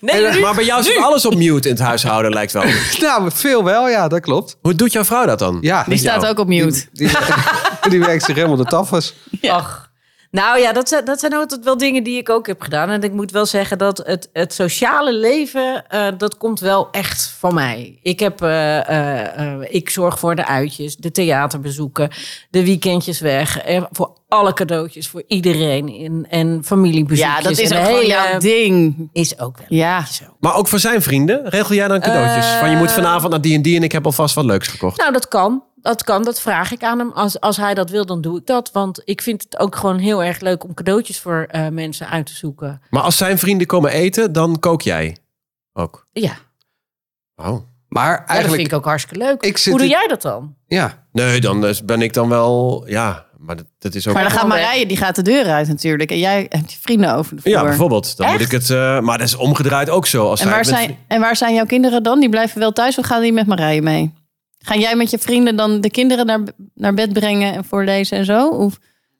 B: eh,
D: En- maar bij jou zit alles op mute in het huishouden, lijkt wel.
B: nou, veel wel, ja, dat klopt.
D: Hoe doet jouw vrouw dat dan?
B: Ja,
A: Die staat ook op mute.
B: die, die werkt zich helemaal de tafels.
E: Ach. Nou ja, dat zijn, dat zijn altijd wel dingen die ik ook heb gedaan. En ik moet wel zeggen dat het, het sociale leven, eh, dat komt wel echt van mij. Ik, heb, eh, eh, eh, ik zorg voor de uitjes, de theaterbezoeken, de weekendjes weg. eh, voor alle cadeautjes, voor iedereen. En, en familiebezoekjes.
A: Ja, dat is
E: en
A: ook
E: de
A: gewoon eh,
E: hele-
A: jouw ding.
E: Is ook wel
A: Ja.
E: zo.
D: Maar ook voor zijn vrienden regel jij dan cadeautjes?
E: Eh,
D: van je moet vanavond naar die en die en ik heb alvast wat leuks gekocht.
E: Nou, dat kan. Dat kan, dat vraag ik aan hem. Als, als hij dat wil, dan doe ik dat. Want ik vind het ook gewoon heel erg leuk om cadeautjes voor eh, mensen uit te zoeken.
D: Maar als zijn vrienden komen eten, dan kook jij ook.
E: Ja,
D: Oh.
B: Maar
E: Ja, dat
B: eigenlijk,
E: vind ik ook hartstikke leuk.
B: Ik zit
E: Hoe doe
B: in-
E: jij dat dan?
B: ja.
D: Nee, dan eh, ben ik dan wel... Ja, maar dat, dat is ook...
A: Maar dan gaat
E: Gewoon weg.
A: Marije, die gaat de deur uit natuurlijk. En jij hebt je vrienden over de vloer.
D: ja, bijvoorbeeld. Dan moet ik
E: Echt?
D: het... eh, maar dat is omgedraaid ook zo. Als
A: En
D: hij
A: waar,
D: met
A: zijn, en waar zijn jouw kinderen dan? Die blijven wel thuis of gaan die met Marije mee? Ga jij met je vrienden dan de kinderen naar, naar bed brengen en voorlezen en zo? Of,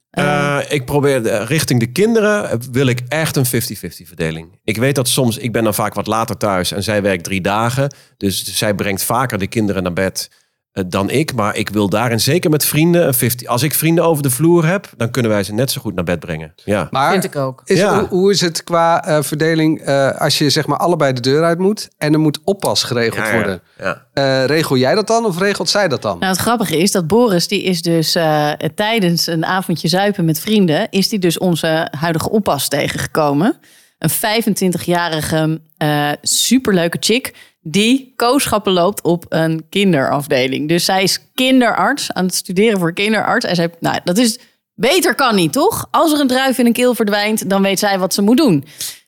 D: Eh,
A: Oh.
D: ik probeer de- richting de kinderen eh, wil ik echt een 50-50 verdeling. Ik weet dat soms, ik ben dan vaak wat later thuis en zij werkt drie dagen. Dus zij brengt vaker de kinderen naar bed eh, dan ik. Maar ik wil daarin zeker met vrienden een 50. Als ik vrienden over de vloer heb, dan kunnen wij ze net zo goed naar bed brengen. Ja.
B: Maar
E: Vind ik ook.
B: Is,
D: Ja.
B: hoe, hoe is het qua eh, verdeling eh, als je zeg maar allebei de deur uit moet en er moet oppas geregeld
D: Ja, ja,
B: worden?
D: ja.
B: Eh, regel jij dat dan of regelt zij dat dan?
A: Nou, het grappige is dat Boris, die is dus eh, tijdens een avondje zuipen met vrienden, is die dus onze huidige oppas tegengekomen. Een 25-jarige eh, superleuke chick die kooschappen loopt op een kinderafdeling. Dus zij is kinderarts, aan het studeren voor kinderarts. En zij, nou, dat is beter kan niet, toch? Als er een druif in een keel verdwijnt, dan weet zij wat ze moet doen.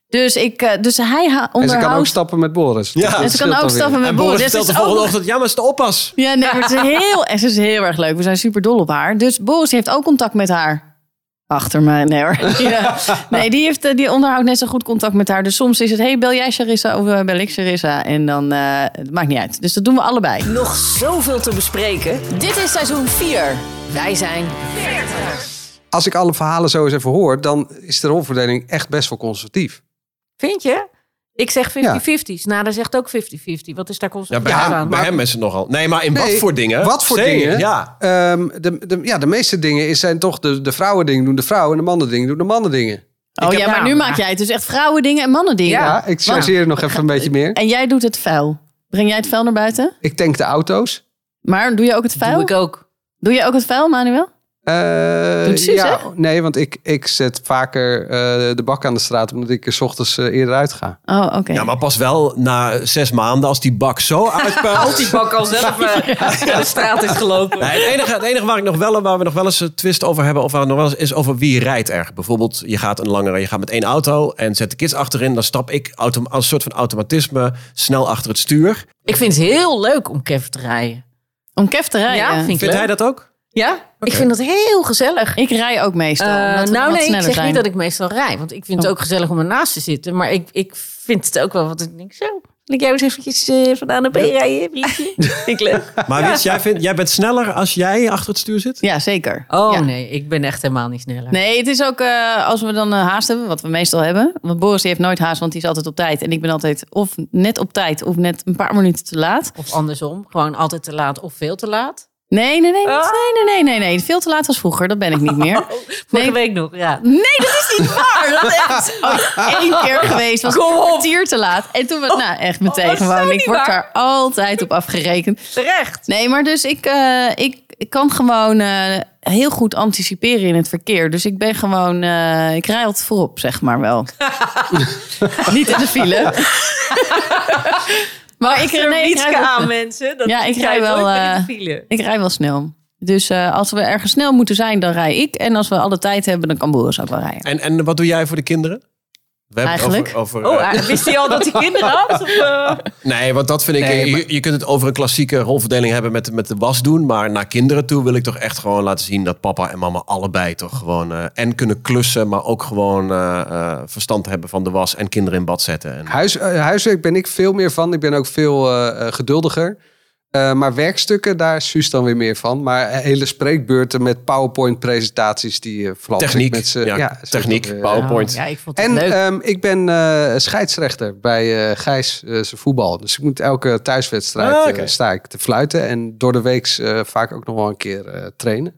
A: Dus, ik, eh, dus hij ha-
B: en ze kan ook
A: onderhoudt...
B: stappen met Boris.
D: Ja.
B: Dus dat
D: En
A: ze
B: scheelt
A: kan
B: dan
A: ook
B: weer.
A: stappen met
D: En
A: Boris. Dus
D: Boris vertelt
A: het
D: de
A: is
D: volgende
A: ook-
D: ochtend, ja, maar het is de oppas.
A: ja, nee, maar het is heel, en ze is heel erg leuk. We zijn super dol op haar. Dus Boris heeft ook contact met haar. Achter me, nee hoor. Ja. Nee, die, heeft, eh, die onderhoudt net zo goed contact met haar. Dus soms is het, hey, bel jij Charissa of eh, bel ik Charissa? En dan, eh, het maakt niet uit. Dus dat doen we allebei.
F: Nog zoveel te bespreken.
G: Dit is seizoen 4. Wij zijn
B: Als ik alle verhalen zo eens even hoor, dan is de rolverdeling echt best wel conservatief.
E: Vind je? Ik zeg 50-50.
B: Ja.
E: Snader zegt ook 50-50. Wat is daar
D: Ja,
E: constant
D: bij, hem,
E: aan?
D: bij hem is het nogal. Nee, maar in
B: Nee,
D: wat voor dingen?
B: Wat voor
D: Zeker,
B: dingen?
D: Ja.
B: Ehm, de, de, ja, de meeste dingen is, zijn toch de, de vrouwen dingen doen de vrouwen en de mannen dingen doen de mannen dingen.
A: oh
E: heb
A: ja, maar
E: naam.
A: nu maak jij het dus echt vrouwendingen en mannendingen.
B: Ja, ik chargeer nog even een beetje meer.
A: En jij doet het vuil. Breng jij het vuil naar buiten?
B: Ik tank de auto's.
A: Maar doe je ook het vuil?
E: Doe ik ook.
A: Doe je ook het vuil, Manuel?
B: Eh,
A: Doet Suus,
B: ja, nee, want ik, ik zet vaker eh, de bak aan de straat omdat ik er 's ochtends eh, eerder uit ga.
A: Oh, oké.
D: ja, maar pas wel na zes maanden als die bak zo uitpuilt.
E: Die bak al zelf de straat is gelopen.
D: Nee, het, enige, het enige waar, ik nog wel, waar we nog wel eens een twist over hebben, of waar we nog wel eens, is over wie rijdt er. Bijvoorbeeld, je gaat een langere, je gaat met één auto en zet de kids achterin, dan stap ik autom- als een soort van automatisme snel achter het stuur.
E: Ik vind het heel leuk om Kevin te rijden.
A: Om Kev te rijden.
E: Ja, vind ik
D: Vindt
E: leuk.
D: hij dat ook?
E: Ja? Ik vind dat heel gezellig.
A: Ik rij ook meestal.
E: Eh,
A: omdat we
E: nou
A: wat
E: nee, ik
A: sneller
E: zeg
A: zijn.
E: niet dat ik meestal rij. Want ik vind het
A: Oh.
E: ook gezellig om ernaast te zitten. Maar ik, ik vind het ook wel wat ik denk. Zo, wil ik jou eens eventjes eh van A naar B rijden, vriendje? Vind ik leuk.
D: Maar Wiets, jij, vindt, jij bent sneller als jij achter het stuur zit?
A: Ja, zeker.
E: Oh
A: Ja.
E: nee, ik ben echt helemaal niet sneller.
A: Nee, het is ook eh, als we dan eh, haast hebben, wat we meestal hebben. Want Boris die heeft nooit haast, want die is altijd op tijd. En ik ben altijd of net op tijd of net een paar minuten te laat.
E: Of andersom, gewoon altijd te laat of veel te laat.
A: Nee, nee, nee, niet-
E: Ah. Oh,
A: nee, nee, nee, nee, nee. Veel te laat was vroeger, dat ben ik niet meer.
E: Vorige
A: Nee.
E: week nog, ja.
A: Nee, dat is niet waar. Dat is één keer geweest. Was een kwartier te laat. En toen was nou echt meteen
E: Oh, dat is zo
A: gewoon. Ik
E: niet
A: word
E: waar.
A: daar altijd op afgerekend.
E: Terecht.
A: Nee, maar dus ik, eh, ik, ik kan gewoon eh, heel goed anticiperen in het verkeer. Dus ik ben gewoon, eh, ik rij altijd voorop, zeg maar wel. niet in de file. maar ik, nee, ik, rij wel,
E: mensen. Dat
A: Ja, ik rij wel,
E: nooit meer
A: eh,
E: file.
A: ik rij wel snel. Dus eh, als we ergens snel moeten zijn, dan rij ik. En als we alle tijd hebben, dan kan Boris ook wel rijden.
D: En, en wat doe jij voor de kinderen? We hebben het
A: Eigenlijk?
D: Over, over, eh,
E: Oh, ah, wist hij al dat hij kinderen had? Of, eh?
D: nee, want dat vind ik.
B: Nee,
D: je-
B: maar-
D: je, je kunt het over een klassieke rolverdeling hebben met, met de was doen. Maar naar kinderen toe wil ik toch echt gewoon laten zien dat papa en mama allebei toch gewoon. eh, en kunnen klussen, maar ook gewoon eh, eh, verstand hebben van de was en kinderen in bad zetten. En,
B: Huis, eh, huiswerk ben ik veel meer van. Ik ben ook veel eh, eh, geduldiger. Eh, maar werkstukken, daar is Suus dan weer meer van. Maar hele spreekbeurten met PowerPoint-presentaties, die eh vooral
D: techniek,
B: met ze.
D: ja,
B: is
D: techniek,
B: ook, eh,
D: PowerPoint.
E: Oh, Ja, ik vond het
B: En
E: leuk.
B: ehm, ik ben eh, scheidsrechter bij eh, Gijs eh, zijn voetbal. Dus ik moet elke thuiswedstrijd
D: Ah, oké.
B: eh, sta ik te fluiten. En door de week eh, vaak ook nog wel een keer eh, trainen.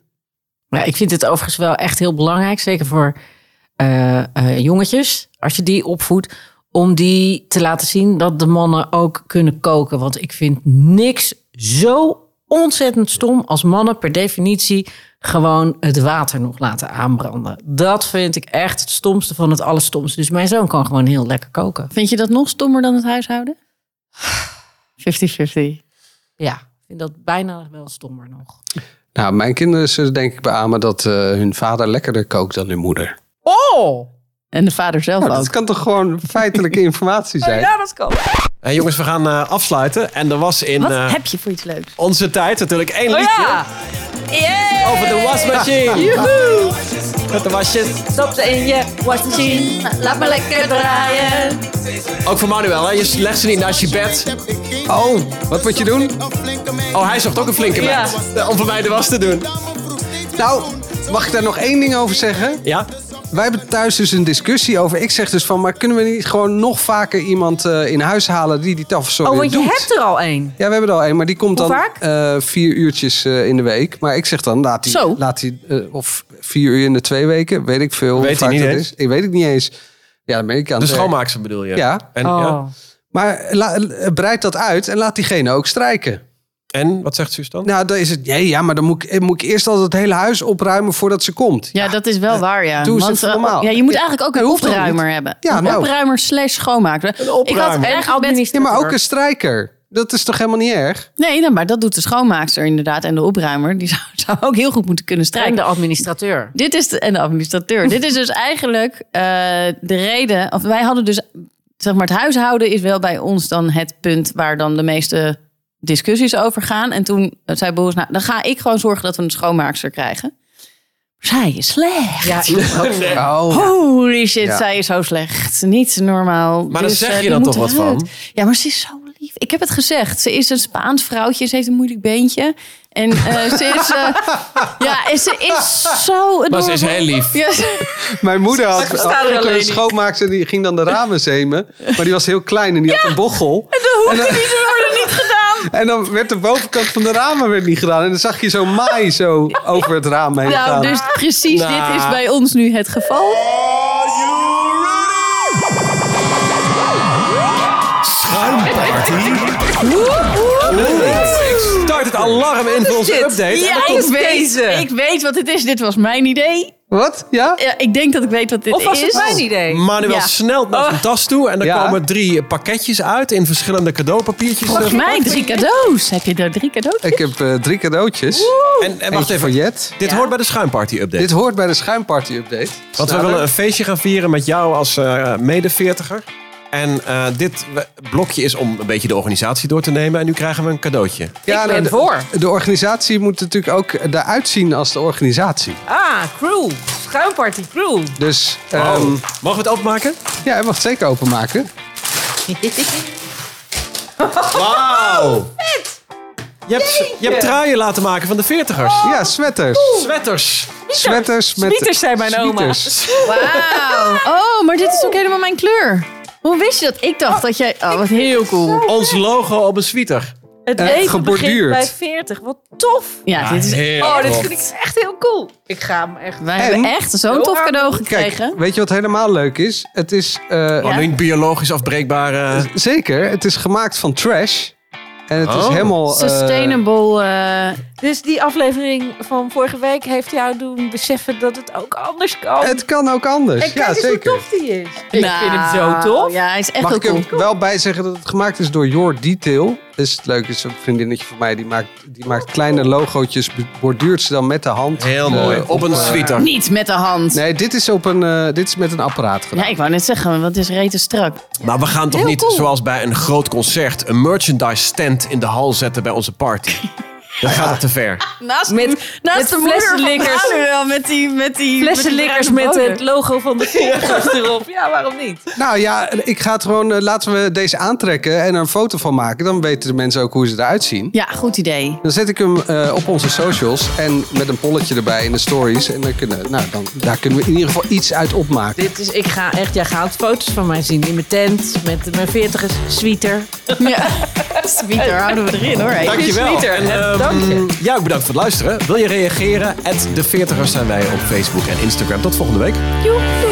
E: Ja, ik vind het overigens wel echt heel belangrijk, zeker voor eh, eh, jongetjes, als je die opvoedt, om die te laten zien dat de mannen ook kunnen koken. Want ik vind niks zo ontzettend stom als mannen per definitie gewoon het water nog laten aanbranden. Dat vind ik echt het stomste van het allerstomste. Dus mijn zoon kan gewoon heel lekker koken.
A: Vind je dat nog stommer dan het huishouden? 50-50.
E: Ja, ik vind dat bijna wel stommer nog.
B: Nou, mijn kinderen zullen denk ik beamen dat eh, hun vader lekkerder kookt dan hun moeder.
E: Oh!
A: En de vader zelf
B: Nou, dat
A: ook.
B: kan toch gewoon feitelijke informatie zijn?
E: Ja, dat kan.
D: Hey, jongens, we gaan eh, afsluiten. En er was in
A: Wat
D: eh,
A: heb Oh je voor iets leuks?
D: onze tijd natuurlijk één liedje
E: ja!
D: over de wasmachine. Met de wasjes.
E: Stop ze in je wasmachine. Laat me lekker draaien.
D: Ook voor Manuel, hè? je legt ze niet naast je bed.
B: Oh, wat moet je doen?
D: Oh, hij zocht ook een flinke bed. eh, Om voor mij de was te doen.
B: Nou, mag ik daar nog één ding over zeggen?
D: Ja?
B: Wij hebben thuis dus een discussie over. Ik zeg dus van, maar kunnen we niet gewoon nog vaker iemand eh, in huis halen die die
E: Oh,
B: tafelzorg
E: want
B: doet?
E: je hebt er al één.
B: Ja, we hebben er al één, maar die komt
E: Hoe
B: dan
E: vaak?
B: eh, vier uurtjes eh, in de week. Maar ik zeg dan, laat die,
A: Zo.
B: laat die eh, of vier uur in de twee weken, weet ik veel. hoe
D: Weet hij
B: vaak
D: niet
B: dat
D: eens?
B: is. Ik weet het niet eens. Ja, dan ben ik aan
D: De
B: het werk.
D: schoonmaakster bedoel je?
B: Ja.
D: En, ja.
E: Oh.
B: Maar la- eh, breid dat uit en laat diegene ook strijken.
D: en wat zegt Suus dan?
B: Nou, dan is het, nee, ja, maar dan moet ik, eh, moet ik eerst altijd het hele huis opruimen voordat ze komt.
A: Ja, dat is wel waar, ja.
B: doe eens
A: Want,
B: even
A: eh,
B: normaal.
A: Ja, je moet
B: Ja,
A: eigenlijk ook
B: dat
A: een
B: hoeft toch
A: opruimer hebben.
B: Ja,
A: een
B: nou.
A: opruimer slash schoonmaker. Ik had
D: opruimer.
A: ergens best...
B: Ja, maar ook een strijker. Dat is toch helemaal niet erg?
A: Nee, nou, maar dat doet de schoonmaakster inderdaad. En de opruimer, die zou, zou ook heel goed moeten kunnen strijken.
E: En de administrateur.
A: Dit is de, en de administrateur. Dit is dus eigenlijk eh, de reden. Of wij hadden dus, zeg maar, het huishouden is wel bij ons dan het punt waar dan de meeste discussies over gaan. En toen zei Boris, nou, dan ga ik gewoon zorgen dat we een schoonmaakster krijgen. Zij is slecht.
E: Ja,
B: Oh.
A: Holy shit,
B: Ja.
A: zij is zo slecht. Niet normaal.
D: Maar dan zeg
A: eh,
D: je
A: die
D: dan
A: moet
D: toch wat
A: eruit.
D: van?
A: Ja, maar ze is zo lief. Ik heb het gezegd. Ze is een Spaans vrouwtje. Ze heeft een moeilijk beentje. En eh, ze is... eh, ja, en ze is zo...
D: Maar ze is
A: adorable.
D: heel lief.
A: Ja, ze-
B: Mijn moeder had,
E: versta
B: had
E: er
B: ook
E: alleen
B: een
E: niet.
B: schoonmaakster die ging dan de ramen zemen. Maar die was heel klein en die had een bochel. En dan, En dan werd de bovenkant van de ramen werd niet gedaan. En dan zag je zo maai zo over het raam heen gaan.
A: Nou, dus precies
D: Nou.
A: dit is bij ons nu het geval.
D: Ik start het alarm in voor onze update.
E: Ja,
D: En
E: ik
D: dat
E: weet
D: komt-
E: deze.
A: Ik weet wat het is. Dit was mijn idee.
B: Wat? Ja?
A: Ja, ik denk dat ik weet wat dit
E: Of was
A: is.
E: het mijn idee?
D: Manuel
A: Ja.
D: snelt naar zijn tas toe en er
B: Oh. Ja.
D: komen drie pakketjes uit in verschillende cadeaupapiertjes.
A: Volgens mij drie cadeaus. Heb je daar drie cadeautjes?
B: Ik heb eh, drie cadeautjes.
D: En, en wacht
B: Eentje voor
D: even,
B: Jet.
D: dit hoort bij de schuimparty update.
B: Dit hoort bij de schuimparty update.
D: Want we
B: Sneller.
D: willen een feestje gaan vieren met jou als eh mede-veertiger. En eh, dit we- blokje is om een beetje de organisatie door te nemen. En nu krijgen we een cadeautje.
B: Ja,
E: ik ben
B: nou, de-
E: voor.
B: De organisatie moet natuurlijk ook eruit zien als de organisatie.
E: Ah, crew. Schuimparty crew.
B: Dus
D: Oh.
B: ehm,
D: Mogen we het openmaken?
B: ja, hij mag het zeker openmaken.
A: Oh,
D: Wauw! Je hebt, je hebt truien laten maken van de veertigers.
B: Ja, sweaters.
D: Sweaters.
B: Sweaters met...
E: Smieters, zei mijn oma.
B: smieters.
A: Wauw. Oh, maar dit is ook helemaal mijn kleur. Hoe wist je dat? Ik dacht dat jij... Oh, wat heel cool.
D: Ons logo op een sweater.
E: Het
B: Eh,
E: leven begint
B: geborduurd.
E: bij 40. Wat tof.
A: Ja, dit is...
D: Heel
E: Oh, dit
D: tof.
E: vind ik echt heel cool. Ik ga hem echt...
A: Wij
B: En-
A: hebben echt zo'n tof cadeau gekregen.
B: Kijk, weet je wat helemaal leuk is? Het is eh,
D: Oh, nu een biologisch afbreekbare...
B: zeker, het is gemaakt van trash. En het
D: Oh.
B: is helemaal... eh,
A: Sustainable eh,
E: Dus die aflevering van vorige week heeft jou doen beseffen dat het ook anders kan.
B: Het kan ook anders.
E: en kijk
B: ja,
E: eens
B: zeker.
E: hoe tof die is.
A: Ik
E: vind hem zo tof.
A: Nou, Ja, hij is echt
B: Mag
A: heel
B: ik
A: cool.
B: er wel bij zeggen dat het gemaakt is door Your Detail? Is het leuk, is een vriendinnetje van mij. Die maakt, die maakt kleine logootjes, borduurt ze dan met de hand.
D: Heel
B: Eh,
D: mooi. Op een
B: eh,
D: sweater.
A: Niet met de hand.
B: Nee, dit is, op een, eh, dit is met een apparaat gedaan.
A: Ja, ik wou net zeggen, want het is rete strak.
D: Maar we gaan toch niet, zoals bij een groot concert, een merchandise stand in de hal zetten bij onze party. Dat gaat het te ver.
A: Naast,
E: Met-
A: naast
E: met
A: de moeder van
E: flessenlikkers.
A: Manuel, met die, met die
E: Flessenlikkers
A: die bruine
E: met het
A: bodem.
E: logo van de podcast erop. Ja, waarom niet?
B: Nou ja, ik ga het gewoon... eh, laten we deze aantrekken en er een foto van maken. Dan weten de mensen ook hoe ze eruit zien.
A: Ja, goed idee.
B: Dan zet ik hem eh, op onze socials en met een polletje erbij in de stories. En dan kunnen, nou, dan, daar kunnen we in ieder geval iets uit opmaken.
E: Dit is, ik ga echt, jij gaat foto's van mij zien. In mijn tent, met mijn veertigers, sweater.
A: Ja, Sweeter houden we erin hoor. hey.
D: Dankjewel. En, ehm,
E: Dank je.
D: ja, ook bedankt voor het luisteren. Wil je reageren? At de 40ers zijn wij op Facebook en Instagram. Tot volgende week.
A: Joep.